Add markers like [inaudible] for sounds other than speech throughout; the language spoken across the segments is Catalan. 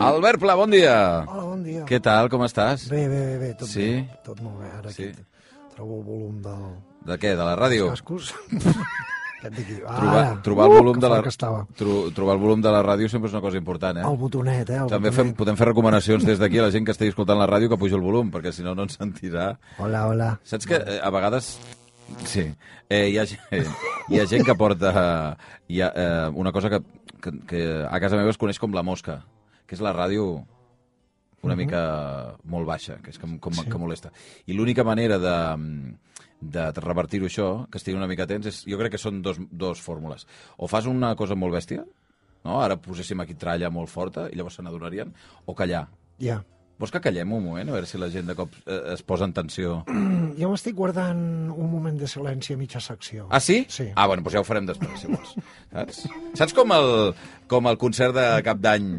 Albert Pla, bon dia. Hola, bon dia. Què tal, com estàs? Bé, bé, bé, bé, tot Sí? bé. Tot molt bé. Ara Sí. sí. trobo el volum del... De què, de la ràdio? [laughs] Cascos? Aquest d'aquí. Trobar, ah, Ara. trobar, el volum que de la, fort Que estava. tro, trobar el volum de la ràdio sempre és una cosa important, eh? El botonet, eh? El També fem, botonet. podem fer recomanacions des d'aquí a la gent que estigui escoltant la ràdio que puja el volum, perquè si no, no ens sentirà. Hola, hola. Saps que eh, a vegades... Sí, eh, hi, ha, ge- [laughs] hi ha gent que porta... eh, Hi ha, eh, una cosa que, que, que a casa meva es coneix com la mosca, que és la ràdio una mica molt baixa, que és com, com, sí. que molesta. I l'única manera de, de revertir-ho això, que estiguin una mica atents, és, jo crec que són dos, dos fórmules. O fas una cosa molt bèstia, no? ara poséssim aquí tralla molt forta i llavors se n'adonarien, o callar. Ja. Vols que callem un moment, a veure si la gent de cop eh, es posa en tensió? Jo m'estic guardant un moment de silenci a mitja secció. Ah, sí? Sí. Ah, bueno, doncs ja ho farem després, si vols. Saps? Saps com el, com el concert de cap d'any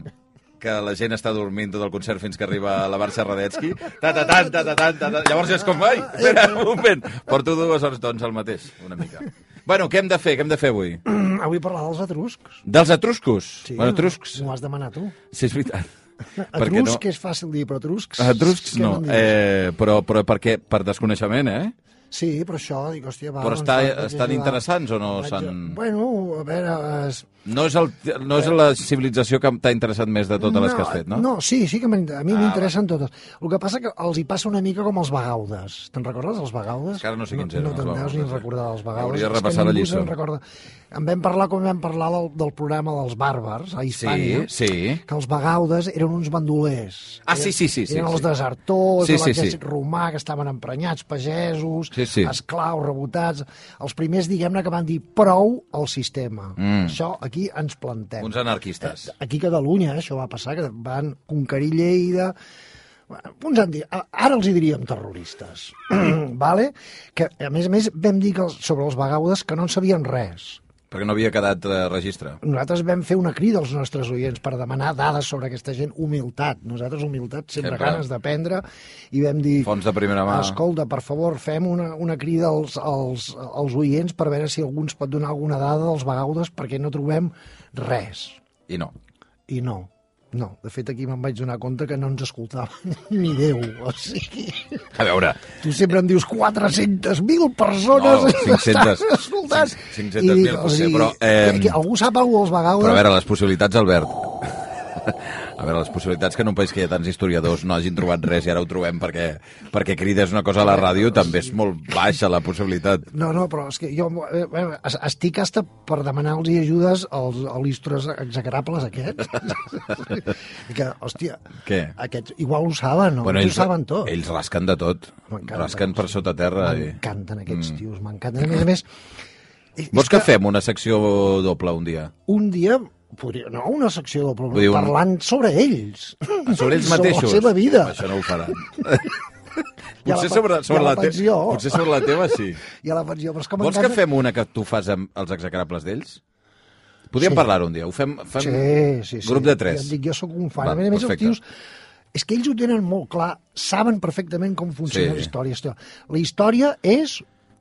que la gent està dormint tot el concert fins que arriba la Barça Radetsky? Ta, ta, ta, ta, ta, ta, ta, ta. Llavors és com, ai, espera, un moment. Porto dues hores, doncs, el mateix, una mica. Bueno, què hem de fer? Què hem de fer avui? [clears throat] Avui parlar dels etruscs. Dels etruscos? Bueno, etruscs. M'ho has demanat tu. Sí, és [laughs] veritat. Perquè Etrusc no... és fàcil dir, però etruscs... Etruscs què no, me'n dius? eh, però, però perquè, per desconeixement, eh? Sí, però això, dic, hòstia, va... Però doncs està, vaig- vaig estan ajudar. interessants o no? Vaig a- S'han... Bueno, a veure... Es... No és, el, no és la civilització que t'ha interessat més de totes les que has fet, no? Ah, No, sí, sí que m'inter- a mi m'interessen totes. El que passa que els hi passa una mica com els vagaudes. Te'n recordes, els vagaudes? És que ara no sé quins eren, No, no te'n els deus ni vagaudes, eh? recordar dels vagaudes. Hauria de És que repassar la ningú lliçó. se'n Recorda. En vam parlar quan vam parlar del, del programa dels bàrbars a Hispània. Sí, sí. Que els vagaudes eren uns bandolers. Ah, sí, sí, sí, sí, Eren els sí. desertors Sí, de sí, l'exèrcit sí. romà que estaven emprenyats, pagesos, Sí, sí. esclaus, rebotats. Els primers, diguem-ne, que van dir prou al sistema. Mm. Això aquí ens plantem. Uns anarquistes. Aquí a Catalunya eh, això va passar, que van conquerir Lleida... Bueno, Uns han dit, a- ara els hi diríem terroristes, [clears throat] vale? que a més a més vam dir que els, sobre els vagaudes que no en sabien res. Perquè no havia quedat eh, registre. Nosaltres vam fer una crida als nostres oients per demanar dades sobre aquesta gent, humilitat. Nosaltres humilitat, sempre, Sempre. sempre. ganes d'aprendre, i vam dir... Fons de primera mà. Escolta, per favor, fem una, una crida als, als, als oients per veure si algú ens pot donar alguna dada dels vagaudes perquè no trobem res. I no. I no, no. De fet, aquí me'n vaig donar compte que no ens escoltava [laughs] ni Déu. O sigui, A veure, tu sempre em dius 400.000 persones No, 500, estan escoltant. cinc- 500.000 I dic, potser, però, eh, que- que Algú sap alguna dels però a vagaudes? veure, les possibilitats, Albert... A veure, les possibilitats que en un país que hi ha tants historiadors no hagin trobat res i ara ho trobem perquè, perquè crides una cosa a la ràdio també és molt baixa la possibilitat. No, no, però és que jo eh, bueno, es- estic hasta per demanar-los ajudes als, als histores [laughs] execrables aquests. que, hòstia, Què? aquests igual ho saben, no? Bueno, ells, ho saben tot. ells eh, rasquen de tot. M'encanta. Rasquen per sota terra. I... M'encanten aquests tios, m'encanten. A més a més, és- mm. Vols és que fem una secció doble un dia? un dia podria, no una secció del programa, Vull dir, un- parlant sobre ells. [laughs] Sobre ells mateixos. Sobre la seva vida. Això no ho faran. Ja Potser la pe- sobre, sobre ja la, la te... pensió. Potser sobre la teva, [laughs] sí. I a la pensió, però és que Vols que m'encanta- fem una que tu fas amb els execrables d'ells? Podríem Sí. parlar un dia. Ho fem, fem Sí, sí, sí. grup de tres. Ja et dic, jo sóc un fan. Va, a més a més, perfecte. els tios... És que ells ho tenen molt clar, saben perfectament com funciona Sí. la història. Hòstia, La història és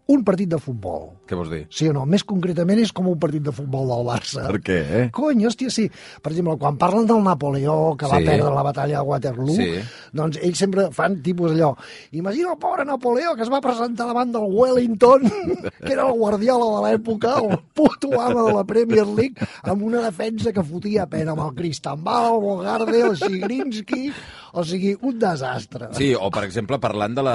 un partit de futbol. Què vols dir? Sí o no? Més concretament és com un partit de futbol del Barça. Per què, eh? Cony, hòstia, sí. Per exemple, quan parlen del Napoleó, que va Sí. perdre la batalla de Waterloo, Sí. doncs ells sempre fan tipus allò. Imagina el pobre Napoleó que es va presentar davant del Wellington, [laughs] que era el guardiola de l'època, el puto ama de la Premier League, amb una defensa que fotia pena amb el Cristambal, el Bogarde, el Sigrinski... O sigui, un desastre. Sí, o per exemple, parlant de la,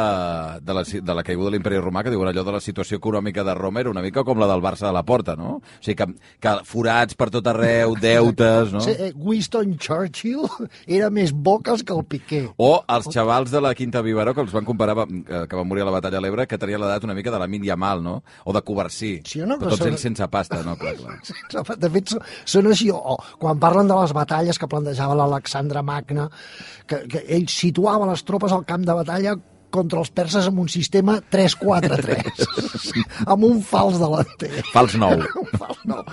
de la, de la caiguda de l'imperi romà, que diuen allò de la situació econòmica de Roma era una mica com la del Barça de la Porta, no? O sigui, que, que forats per tot arreu, deutes, no? Sí, eh, Winston Churchill era més boques que el Piqué. O els xavals de la Quinta Vivaró, que els van comparar, va- eh, que van morir a la batalla de l'Ebre, que tenia l'edat una mica de la Mínia Mal, no? O de Coversí. Sí, o no? Però Que tots són- ells sense pasta, no? Clar, clar. De fet, so- són així. O, o, quan parlen de les batalles que plantejava l'Alexandre Magna, que, que ell situava les tropes al camp de batalla contra els perses amb un sistema 3-4-3, amb un fals delanter. Fals nou. Un fals nou.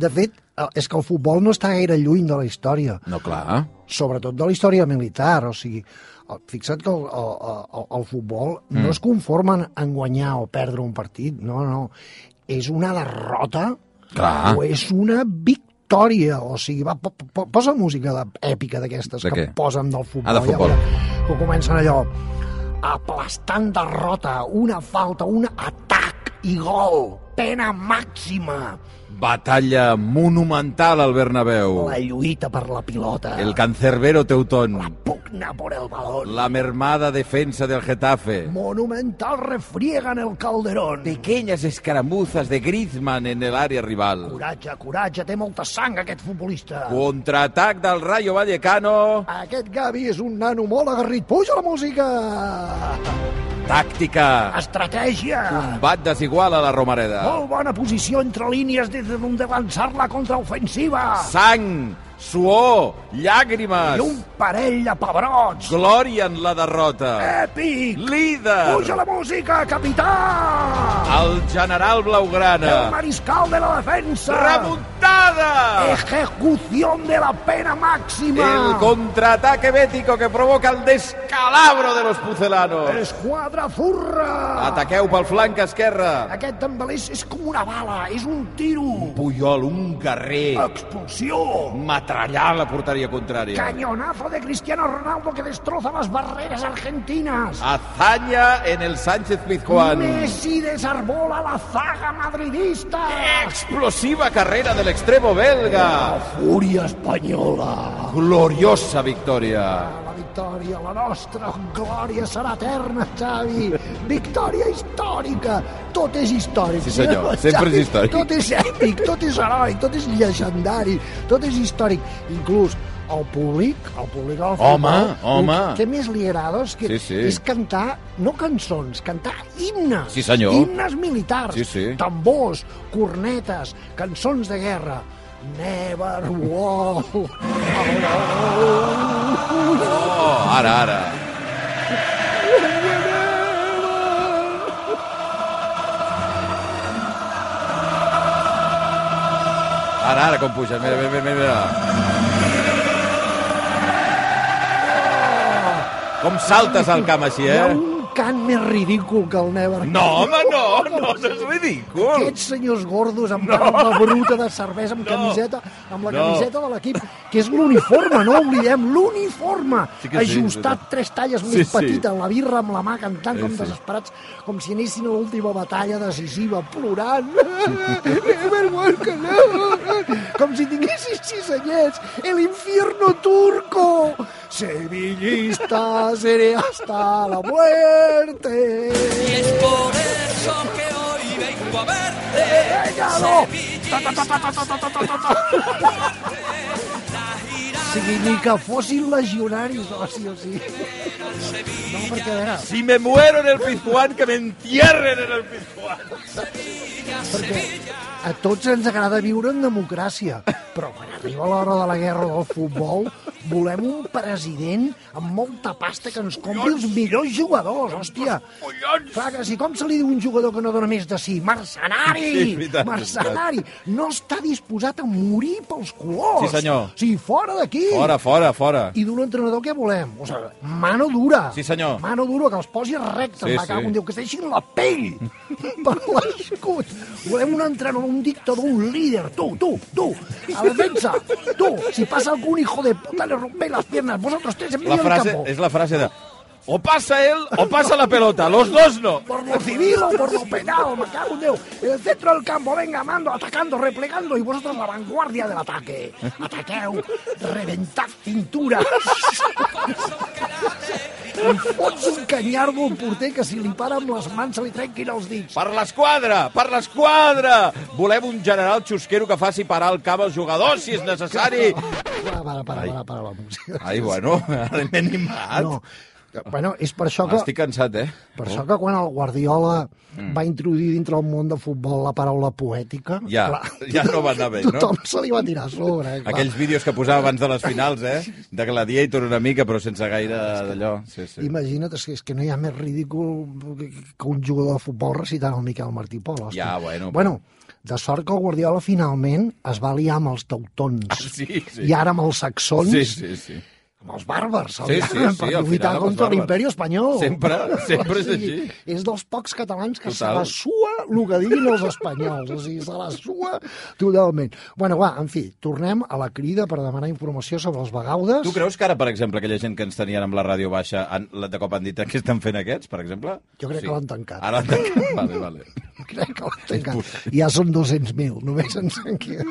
De fet, eh, és que el futbol no està gaire lluny de la història, No, clar. sobretot de la història militar, o sigui, el- Fixa't que el, el, el, el futbol mm. no es conformen en guanyar o perdre un partit, no, no. És una derrota Clar. o és una victòria. O sigui, va, po, po, posa música de- èpica d'aquestes De que què? posen del futbol. Ah, de futbol. Ja, veurà, que comencen allò, aplastant derrota, una falta, un atac i gol, pena màxima, Batalla monumental al Bernabéu. la lluita per la pilota, El cancerbero teutón. pugna por el balón. La mermada defensa del Getafe. Monumental refriega en el Calderón. Pequeñas escaramuzas de Griezmann en el àrea rival. Coratge, coratge, té molta sang aquest futbolista. Contraatac del Rayo Vallecano. Aquest Gavi és un nano molt agarrit. Puja la música! Tàctica. Estratègia! Bat desigual a la Romareda. Molt bona posició entre línies des d'on de lançar la contraofensiva. Sang, suor, I un llàgrimes. parell de pebrots. Glòria en la derrota. Èpic! Puja Líder. la música, capità! El general El Blaugrana. mariscal de la defensa! Remuntada. Ejecución de la pena máxima! El contraataque bético que provoca el descalabro de los pucelanos. Esquadra furra! Ataqueu pel flanc esquerre. Aquest tambalés és com una bala, és un tiro! Puyol, un guerrer. Expulsió! Matrallar la porteria contrària. Cañonazo de Cristiano Ronaldo que destroza las barreras argentinas! Hazaña en el Sánchez Pizjuán. Messi desarbola la zaga madridista! Explosiva carrera del extremo belga. Fúria espanyola! Gloriosa victòria. La victòria, la nostra glòria serà eterna, Xavi! Victòria històrica! Tot és històric. Sí, senyor, sempre és històric. Tot és èpic, tot és heroi, tot és llegendari, tot és històric. Inclús el públic, el públic al Home, futbol, home. el que més li agrada és, que, Sí, sí. és cantar, no cançons, cantar himnes. Sí, senyor. Himnes militars, Sí, sí. tambors, cornetes, cançons de guerra. Never walk alone. Oh, ara, ara. Ara, ara, com puja. Mira, mira, mira, Oh, mira. Com saltes al camp així, Hi ha eh? un cant més ridícul que el Never. No, home, no, no, no és ridícul. Aquests senyors gordos amb no. barba bruta de cervesa, amb No. camiseta, amb la No. camiseta de l'equip, que és l'uniforme, no oblidem, l'uniforme! Sí que sí, Ajustat és tres talles Sí, més sí. petita, la birra amb la mà, cantant Sí, com sí. desesperats, com si anessin a l'última batalla decisiva, plorant. [laughs] Never walk alone! Com si tinguessis sis anyets. El infierno turco! Sevillista seré hasta la muerte! Y es por eso que hoy vengo a verte. Venga, no. Sevillista, la gira O sigui, ni que fossin legionaris, oh, o sigui, o sigui... No, perquè, a veure, Si me muero en el Pizjuán, que me entierren en el Pizjuán. perquè a tots ens agrada viure en democràcia, però quan arriba l'hora de la guerra del futbol, volem un president amb molta pasta que ens compri els millors jugadors, hòstia. Clar que si com se li diu un jugador que no dona més de si? Sí, és Mercenari! veritat, Mercenari! No està disposat a morir pels colors! Sí, senyor. O sigui, fora d'aquí! Fora, fora, fora. I d'un entrenador què volem? O sigui, mano dura. Sí, senyor. Mano dura, que els posi rectes. Sí, Sí, va, sí. sí. un Déu, que es deixin la pell [laughs] per l'escut. Volem un entrenador, un dictador, un líder. Tu, tu, tu, a defensa. Tu, si passa algun hijo de puta, le rompe las piernas. Vosotros tres en medio La frase del campo. és la frase de o passa ell o passa la pelota, los dos no. Por lo civil o por lo penal, me cago en Déu. En el centro del campo, venga, mando, atacando, replegando, y vosotros la vanguardia del ataque. Ataqueu, reventad cinturas. Li fots un canyardo al porter que si li para amb les mans se li trenquin els dits. Per l'esquadra, per l'esquadra! Volem un general xusquero que faci parar el cap als jugadors, si és necessari. Para, para, para, para, para la música. Ai, bueno, ara m'he animat. No, bueno, és per això que... Estic Mm. cansat, eh? Per això que quan el Guardiola va introduir dintre el món del futbol la paraula poètica... Ja, ja no va anar bé, no? Tothom se li va tirar a sobre, eh, clar. Aquells vídeos que posava abans de les finals, eh? De Gladiator una mica, però sense gaire d'allò. Sí, sí. Imagina't, és que, és que no hi ha més ridícul que que un jugador de futbol recitant el Miquel Martí Pol. hòstia. Ja, bueno, però- Bueno, de sort que el Guardiola finalment es va liar amb els teutons. Ah, Sí, sí. I ara amb els saxons. Sí, sí, sí. amb els bàrbars, Sí, sí, sí, per al final lluitar amb els contra bàrbars. l'imperi espanyol. Sempre, sempre O és sigui, així. És dels pocs catalans que se Total. la sua el que diguin els espanyols. O sigui, se la sua totalment. Bueno, va, en fi, tornem a la crida per demanar informació sobre els vagaudes. Tu creus que ara, per exemple, aquella gent que ens tenien amb la ràdio baixa, han, de cop han dit què estan fent aquests, per exemple? Jo crec que l'han tancat. Ara l'han tancat, vale, vale. crec que l'han tancat. Ja són 200.000, només ens en queden.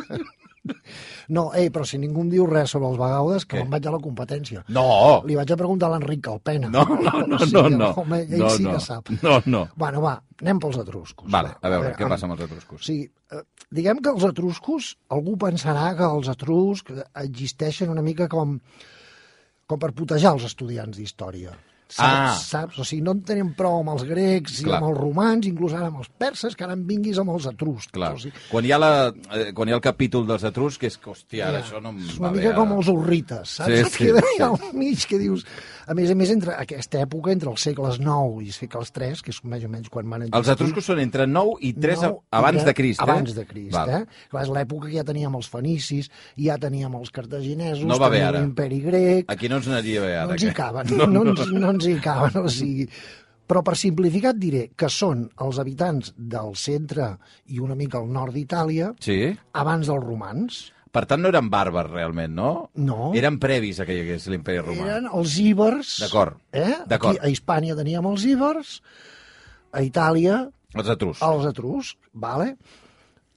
No, ei, però si ningú em diu res sobre els vagaudes, que Què? me'n vaig a la competència. No! [laughs] Li vaig a preguntar a l'Enric Calpena. No, no, no, [laughs] O sigui, no, no. Home, ell No, sí no. que sap. No, no. Bueno, va, anem pels etruscos. Eh, Vale, a veure, què em- passa amb els etruscos? Sí, eh, diguem que els etruscos, algú pensarà que els etruscs existeixen una mica com, com per putejar els estudiants d'història. Saps, Ah. saps? O sigui, no en tenim prou amb els grecs i Clar. amb els romans, inclús ara amb els perses, que ara en vinguis amb els etruscs. Clar. O sigui, Quan hi, ha la, eh, quan hi ha el capítol dels etruscs, que és que, hòstia, ara ja, això no em és va una bé. mica ara. com els urrites, saps? Sí, Et sí, queda sí. allà al mig que dius... A més a més, entre aquesta època, entre els segles IX i segles III, que és més o menys quan van Els etruscos són entre 9 i 3 Nou abans era de Crist, eh? Abans de Crist, Val. eh? Clar, és l'època que ja teníem els fenicis, ja teníem els cartaginesos, No va bé, teníem ara. l'imperi grec... Aquí no ens anaria bé, ara. no ens hi que- caben, [laughs] no, no, ens, no ens hi caben, o sigui... Però per simplificat diré que són els habitants del centre i una mica al nord d'Itàlia Sí? abans dels romans. Per tant, no eren bàrbars, realment, no? No. Eren previs a que hi hagués l'imperi romà. Eren els íbers. D'acord, Eh? d'acord. Aquí a Hispània teníem els íbers, a Itàlia Els etruscs. els etruscs, vale?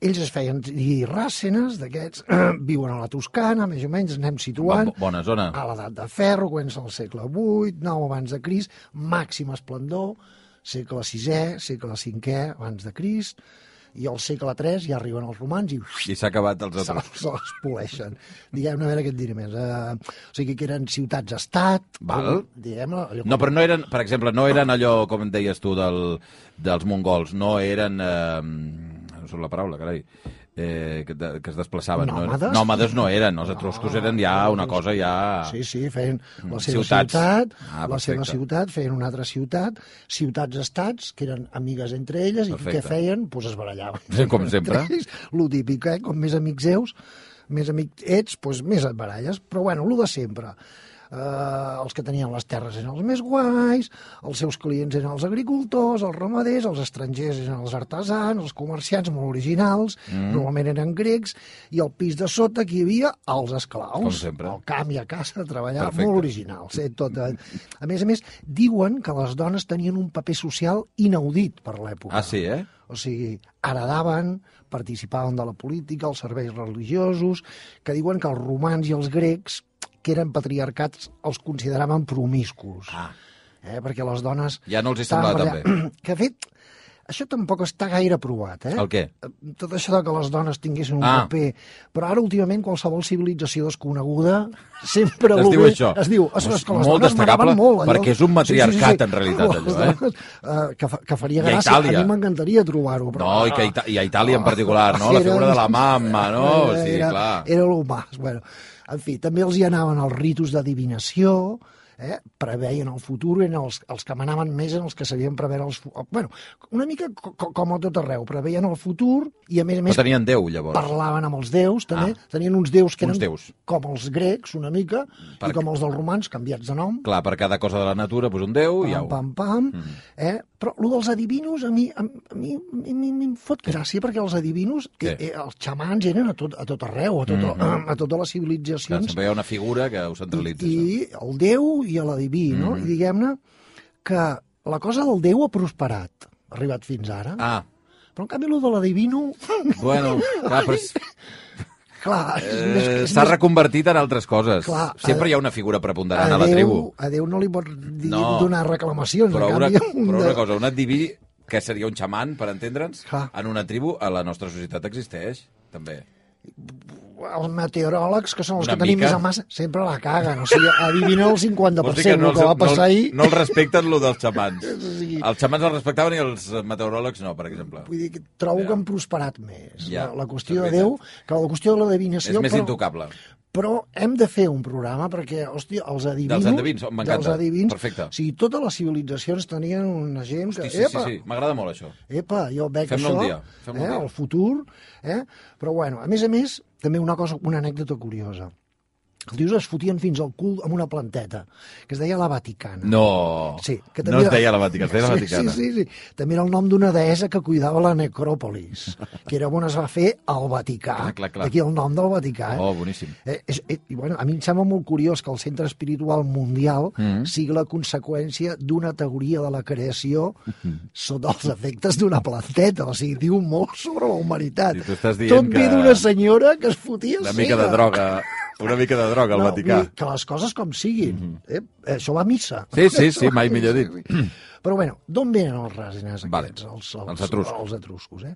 ells es feien dir ràcenes d'aquests, [clears throat] viuen a la Toscana, més o menys, anem situant, Bo- bona zona. a l'edat de ferro, comença el segle VIII, IX abans de Crist, màxim esplendor, segle VI, segle V abans de Crist, i al segle III ja arriben els romans i I s'ha acabat els se, etruscs. se les poleixen. Diguem-ne, a veure què et diré més. Uh, o sigui que eren ciutats-estat, Val. diguem-ne... allò No, com- però no eren, per exemple, no eren allò, com em deies tu, del, dels mongols, no eren... Eh, no surt la paraula, carai. Eh, que, de, que es desplaçaven. Nòmades? No, nòmades no eren, els etruscos No, eren ja una cosa ja... Sí, sí, feien la seva Mm. Ciutats. ciutat, Ah, la seva perfecte. ciutat, feien una altra ciutat, ciutats-estats, que eren amigues entre elles, i Perfecte. què feien? Doncs pues es barallaven. Sí, [laughs] com sempre. [laughs] Entre ells, Lo típic, eh? Com més amics seus, més amic ets, doncs més et baralles. Però bueno, lo de sempre. Uh, els que tenien les terres eren els més guais, els seus clients eren els agricultors, els ramaders, els estrangers eren els artesans, els comerciants molt originals, mm. normalment eren grecs, i al pis de sota que hi havia els esclaus. Com sempre. Al camp i a casa a treballar, Perfecte. molt original. Eh? Tot, eh? A més a més, diuen que les dones tenien un paper social inaudit per l'època. Ah, sí, eh? O sigui, heredaven, participaven de la política, els serveis religiosos, que diuen que els romans i els grecs, que eren patriarcats, els consideraven promiscus. Ah. Eh? Perquè les dones... Ja no els hi estaven semblava per tan allà. [clears throat] Que, de fet, això tampoc està gaire provat, eh? El què? Tot això de que les dones tinguessin un Ah. paper... Però ara, últimament, qualsevol civilització desconeguda sempre Es lo diu bé- això. Es diu, es, Home, és que molt les dones destacable, m'agraven molt. Allò. perquè és un matriarcat, en realitat, Les allò, eh? dones, eh, que, fa, que faria I a gràcia. A, Itàlia. mi m'encantaria trobar-ho. Però, Oh. No, i, que a Ita i a Itàlia en particular, no? La Era- Eh, figura de la mamma, no? Era, Sí, era, clar. era el mas. Bueno, en fi, també els hi anaven els ritus d'adivinació, eh? preveien el futur, eren els, els que manaven més en els que sabien preveure els... fu- Bueno, una mica co co- com a tot arreu, preveien el futur i, a més a No més, tenien Déu, llavors. parlaven amb els déus, també. Ah. Ah. Tenien uns déus que Uns eren déus. com els grecs, una mica, Per- i com els dels romans, canviats de nom. Clar, per cada cosa de la natura, pues un Déu i Pam, au. pam, pam. Mm. Eh? Però el dels adivinos a mi, a, a mi, a mi, a mi em fot gràcia, perquè els adivinos, Què? Mm. eh, eh, els xamans eren a tot, a tot arreu, a, tot, [clears throat] a totes les Clar, civilitzacions. sempre hi ha una figura que ho centralitza. això. I el Déu i l'adiví, no? Mm. I diguem-ne que la cosa del Déu ha prosperat, ha arribat fins ara. Ah, Però, en canvi, el de l'adivino, [laughs] bueno, clar, però és- clar, és eh, més... és s'ha més- reconvertit en altres coses. Clar, Sempre eh, hi ha una figura preponderant a la tribu. A Déu no li pot dir, No. donar reclamacions. Però en una, canvi, [laughs] un però de- una cosa, un adiví que seria un xaman, per entendre'ns, Clar. en una tribu a la nostra societat existeix, també. els meteoròlegs, que són els Una que tenim mica. més a massa, sempre la caguen. O sigui, adivinen el 50% no, els- que va passar no, ahir. no els respecten, lo dels [laughs] xamans. sigui- Els xamans els respectaven i els meteoròlegs no, per exemple. Vull dir, que trobo Ja. que han prosperat més. Ja, La, la qüestió és de Déu, que la qüestió de És l'adivinació... més però- intocable. Però hem de fer un programa perquè, hòstia, els adivinos... Dels endevins, oh, m'encanta. dels Adivins, Perfecte. O sigui, totes les civilitzacions tenien una gent que... Sí, sí, sí, epa, sí. m'agrada molt això. Epa, jo veig Fem-ne això, un dia, fem-ne un eh, dia. el futur, eh? però bueno, a més a més, també una cosa, una anècdota curiosa. els tios es fotien fins al cul amb una planteta, que es deia la Vaticana. No, Sí, que no també es era- deia la Vaticana, es deia la Sí, Vaticana. Sí, sí, sí. També era el nom d'una deessa que cuidava la necròpolis, que era on es va fer el Vaticà. Clar, clar, clar. D'aquí el nom del Vaticà. Oh, boníssim. Eh, és, eh, i, bueno, a mi em sembla molt curiós que el centre espiritual mundial Mhm. sigui la conseqüència d'una teoria de la creació Mm-hmm. sota els efectes d'una planteta. O sigui, diu molt sobre la humanitat. I tu estàs dient Tot ve que- d'una senyora que es fotia Una mica de cega. droga, una mica de droga al No, Vaticà. Mm-hmm. vull dir Que les coses com siguin. eh? Això va a missa. Sí, sí, sí, [laughs] mai millor dit. Però bueno, d'on venen els resines aquests? Vale. Els, Els etruscs. Els etruscos, eh?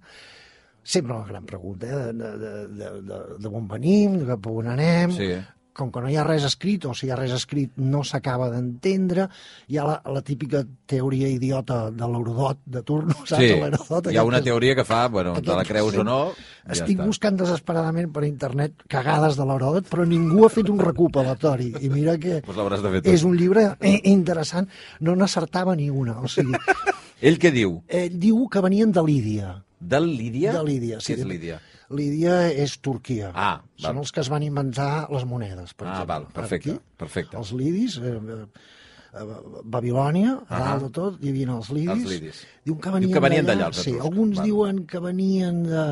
Sempre la gran pregunta, eh? De, de, de, de, de on venim, de cap a on anem... Sí. Com que no hi ha res escrit, o si hi ha res escrit no s'acaba d'entendre, hi ha la, la típica teoria idiota de l'eurodot de turno, saps? Sí, L'eurodot hi ha aquest una que- teoria que fa, bueno, te la Aquest- creus sí. o no, ja estic està. buscant desesperadament per internet cagades de l'Heròdot, però ningú ha fet un recopilatori. I mira que Doncs l'hauràs de fer tu. és un llibre eh, interessant. No n'acertava ni una. O sigui, Ell què diu? eh, diu que venien de Lídia. De Lídia? De Lídia, sí. Què és Lídia? Lídia és Turquia. Ah, val. Són els que es van inventar les monedes, Ah, per exemple. val, perfecte, Aquí, perfecte. Els lidis, eh, eh, eh, Babilònia, a Ahà. dalt de tot, hi havia els lidis. Els lidis. Diuen que Diu venien, que venien d'allà, d'allà. els Sí, etruscs. alguns Val. diuen que venien de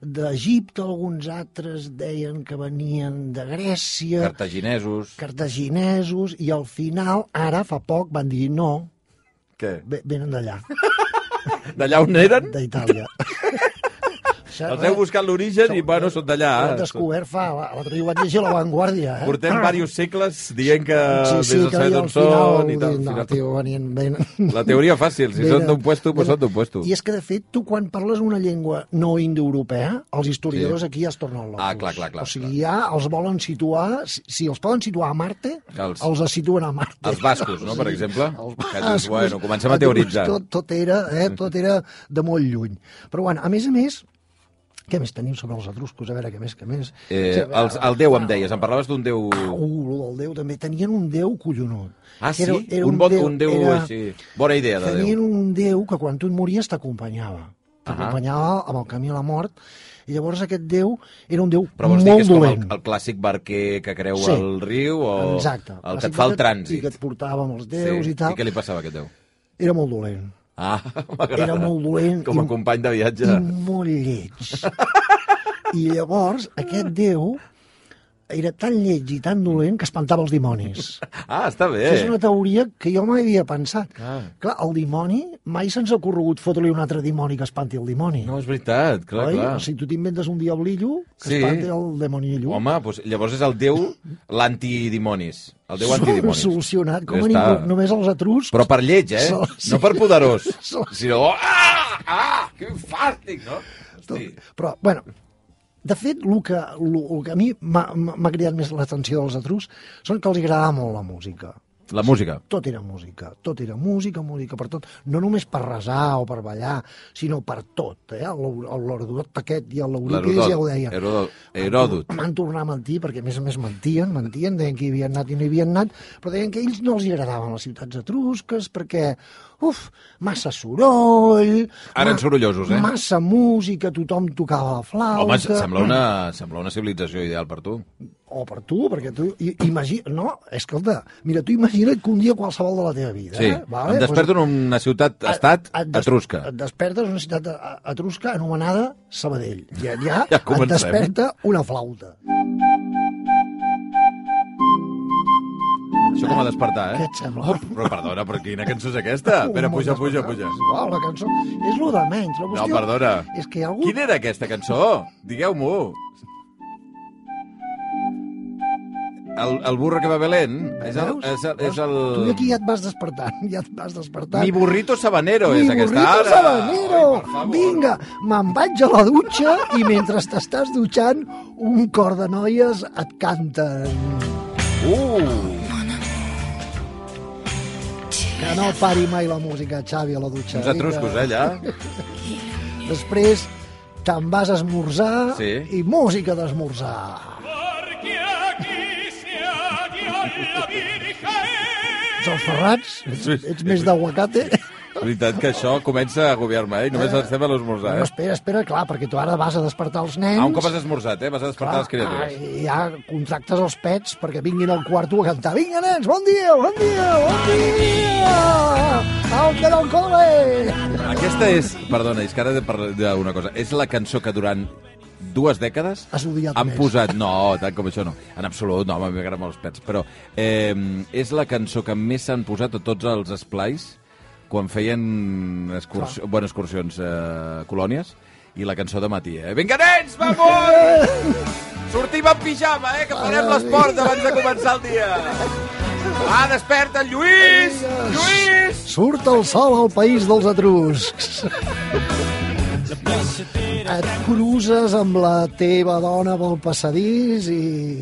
d'Egipte, alguns altres deien que venien de Grècia, Cartaginesos. cartaginesos, i al final, ara fa poc, van dir no, Què? ve- venen d'allà, D'allà on eren? d'Itàlia. Els heu buscat l'origen i, bueno, són d'allà. eh? Ho hem descobert fa... L'altre dia ho vaig llegir a La Vanguardia, eh? Ah, Portem eh, diversos segles dient que sí, sí, vés a que saber deia d'on al són final... i tal. No, Al final- tio, venien... Venen... La teoria fàcil, si són Venen- d'un puesto, pues venen- són d'un puesto. I és que, de fet, tu quan parles una llengua no indoeuropea, els historiadors Sí. aquí ja es tornen locos. Ah, clar, clar, clar, O sigui, ja els volen situar... Si, si els poden situar a Marte, Els- els, els situen a Marte. Els bascos, no, per Sí, exemple? Els Que dius, bascos. bueno, comencem a teoritzar. Tot, tot, era, eh, tot era de molt lluny. Però, bueno, a més a més, què més tenim sobre els etruscos? A veure, què més, què més? Sí, Eh, a veure, els, el déu em deies, em parlaves d'un déu... Uh, el del Déu també. Tenien un Déu collonut. Ah, sí? Era, era un, bon, un déu era, així... Bona idea de Tenien déu. un Déu que quan tu et mories t'acompanyava. T'acompanyava amb el camí a la mort. I llavors aquest Déu era un Déu Però vols dir que molt és com el, dolent. el clàssic barquer que creu Sí. al riu o Exacte. el que et fa el I que et trànsit? portava amb els déus i tal. I què li passava a aquest déu? Era molt dolent. [laughs] Ah, m'agrada. Era molt dolent Com a i- company de viatge. I molt lleig. [laughs] I llavors aquest Déu era tan lleig i tan dolent que espantava els [laughs] dimonis. Ah, està bé. Això és una teoria que jo mai havia pensat. Ah. Clar, el dimoni, mai se'ns ha corregut fotre-li un altre dimoni que espanti el dimoni. No, és veritat, clar, Oi? clar. O sigui, tu t'inventes un diablillo que Sí. espanti el demonillo. Home, doncs, llavors és el déu l'antidimonis. El déu Sol- antidimonis. Solucionat, com Ja a està. ningú, només els etruscs. Però per lleig, eh? Sol- No per poderós. [laughs] Sol- Sinó... Ah! Ah! Que fàstic, no? Hosti. Però, bueno, de fet, el que, el, el que a mi m'ha m'ha cridat més l'atenció dels etruscs són que els agradava molt la música. La música. Tot era música, tot era música, música per tot. No només per resar o per ballar, sinó per tot. Eh? L'Herodot aquest i l'Eurípides ja ho deien. Herodot. Herodot. Van tornar a mentir, perquè a més a més mentien, mentien, deien que hi havien anat i no hi havien anat, però deien que a ells no els hi agradaven les ciutats etrusques perquè, uf, massa soroll... Ara ma- en sorollosos, eh? Massa música, tothom tocava la flauta... Home, se- sembla una, sembla una civilització ideal per tu. O per tu, perquè tu... i- Imagina... No, escolta, mira, tu imagina't que un dia qualsevol de la teva vida... Sí. eh? Vale? Doncs Em desperto en una ciutat-estat Et- et des- etrusca. Et despertes en una ciutat a- etrusca anomenada Sabadell. I allà [laughs] Ja et comencem. desperta una flauta. Això com a despertar, eh? Què et sembla? Oh, però perdona, però quina cançó és aquesta? Un Espera, munt puja, de puja, coses. puja. Oh, la cançó és lo de menys. La No, qüestió perdona. És que hi ha algú... Quina era aquesta cançó? Digueu-m'ho. El, el burro que va a Belén és el... Veus? És el, és el... Tu aquí ja et vas despertant, ja et vas despertant. Mi burrito sabanero Mi és aquesta burrito ara. sabanero! Ai, per favor. Vinga, me'n vaig a la dutxa i mentre t'estàs dutxant, un cor de noies et canten. Uh, Que no pari mai la música, Xavi, a la dutxa. uns etruscos, eh, allà. Després te'n vas a esmorzar Sí. i música d'esmorzar. Porque aquí se halla la Virgen. Ets els ferrats? Ets, ets més d'aguacate? veritat que això comença a agobiar-me, eh? I només estem a l'esmorzar, No, eh? espera, espera, clar, perquè tu ara vas a despertar els nens... Ah, un cop has esmorzat, eh? Vas a despertar les ah, criatures. i ja contractes els pets perquè vinguin al quarto a cantar. Vinga, nens, bon dia, bon dia, bon dia! Au, que no al col·le! Aquesta és, perdona, és que ara he de parlar d'una cosa. És la cançó que durant dues dècades Has odiat han més. posat... No, tant com això no. En absolut, no, home, m'agraden molt els pets. Però eh, és la cançó que més s'han posat a tots els esplais quan feien excursi... bueno, excursions eh, colònies i la cançó de matí, eh? Vinga, nens, [laughs] vamos! Sortim en pijama, eh? Que farem l'esport abans de començar el dia. Va, desperta, Lluís! Lluís! Surt el sol al país dels etruscs. Et cruces amb la teva dona pel passadís i...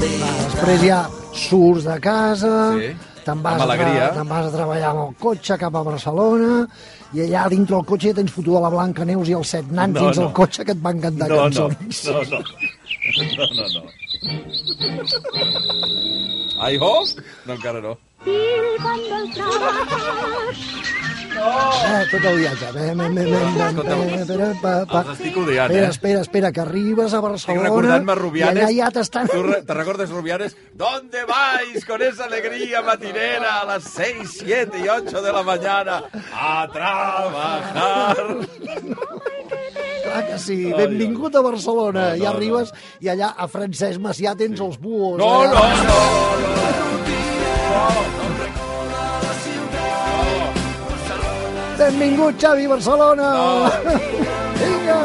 Després ja surts de casa, Sí. te'n vas, Amb a tra- alegria. te'n vas a treballar amb el cotxe cap a Barcelona i allà dintre el cotxe ja tens fotuda la Blanca Neus i els set nans No, dins no. el cotxe que et van cantar No, no, cançons. no, [laughs] no. No, no, no. Ai, ho? No, encara no. Eh, tot el viatge. Bé, bé, bé, bé, bé, Escolta, bé, espera, pa, pa. els estic odiant, Espera, eh? espera, espera, que arribes a Estic Barcelona... recordant-me Rubianes. I allà ja t'estan... Tu re- te recordes Rubianes? ¿Dónde vais con esa alegría matinera a las 6, 7 y 8 de la mañana a trabajar? Clar que sí, benvingut a Barcelona. I arribes i allà a Francesc Macià tens els buos. eh? No, no, allà. no, no. Benvingut, Xavi, Barcelona. No. [laughs] Vinga,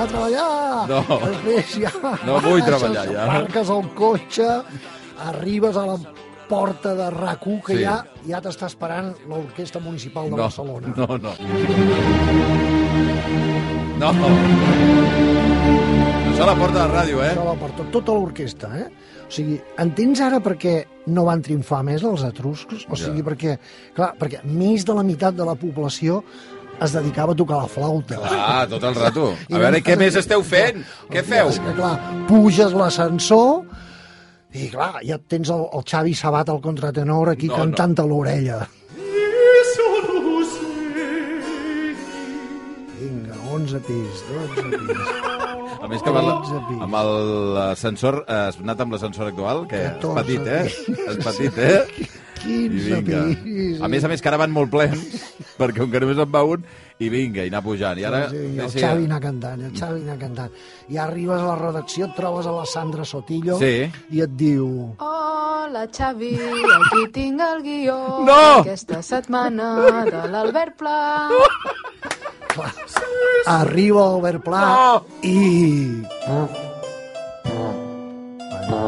a treballar. No. Després ja... No vull baixes, treballar, ja. Aparques el cotxe, arribes a la porta de rac que Sí. ja, ja t'està esperant l'Orquestra Municipal de Barcelona. No, no. No. no. Això a la porta de la ràdio, eh? Això la porta tota l'orquestra, eh? O sigui, entens ara per què no van triomfar més els etruscs? O sigui, perquè, clar, perquè més de la meitat de la població es dedicava a tocar la flauta. Ah, tot el rato. Doncs I A veure, van què fer- més esteu fent? Què Hòstia, feu? És que, clar, puges l'ascensor i, clar, ja tens el, el Xavi Sabat, el contratenor, aquí No, no, cantant a l'orella. Vinga, 11 pis, 12 pis, A més que amb el- Tretze amb l'ascensor, eh, has anat amb l'ascensor actual, que és Catorze petit, eh? pis. És petit, [laughs] eh? I 15 vinga. pis... A més, a més, que ara van molt plens, [laughs] perquè com que només en va un, i vinga, i anar pujant. I ara... Sí, sí, el Eh, sí, Xavi anar cantant, el Xavi anar cantant. I arribes a la redacció, et trobes a la Sandra Sotillo Sí. i et diu... Hola, Xavi, aquí tinc el guió No! aquesta setmana de l'Albert Pla. Arriba Albert Pla No! i... No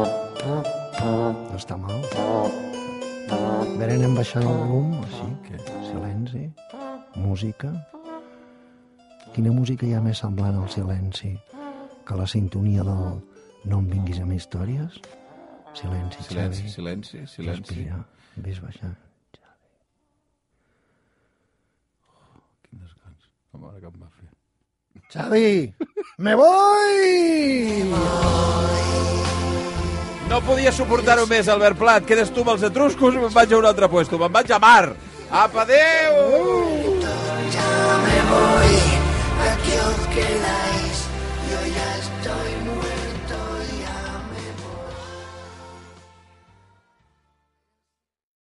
Doncs està mal. A veure, anem baixant el volum, així, que silenci, música. Quina música hi ha més semblant al silenci que la sintonia del No em vinguis amb històries? Silenci, silenci, Xavi. silenci, silenci. Respira, ves baixant. Quin descans. Home, ara que em va fer. Xavi, me voy! No podia suportar-ho més, Oh. Albert Plat. Quedes tu amb els etruscos i me'n vaig a un altre puesto. Me'n vaig a mar. Apa, adéu!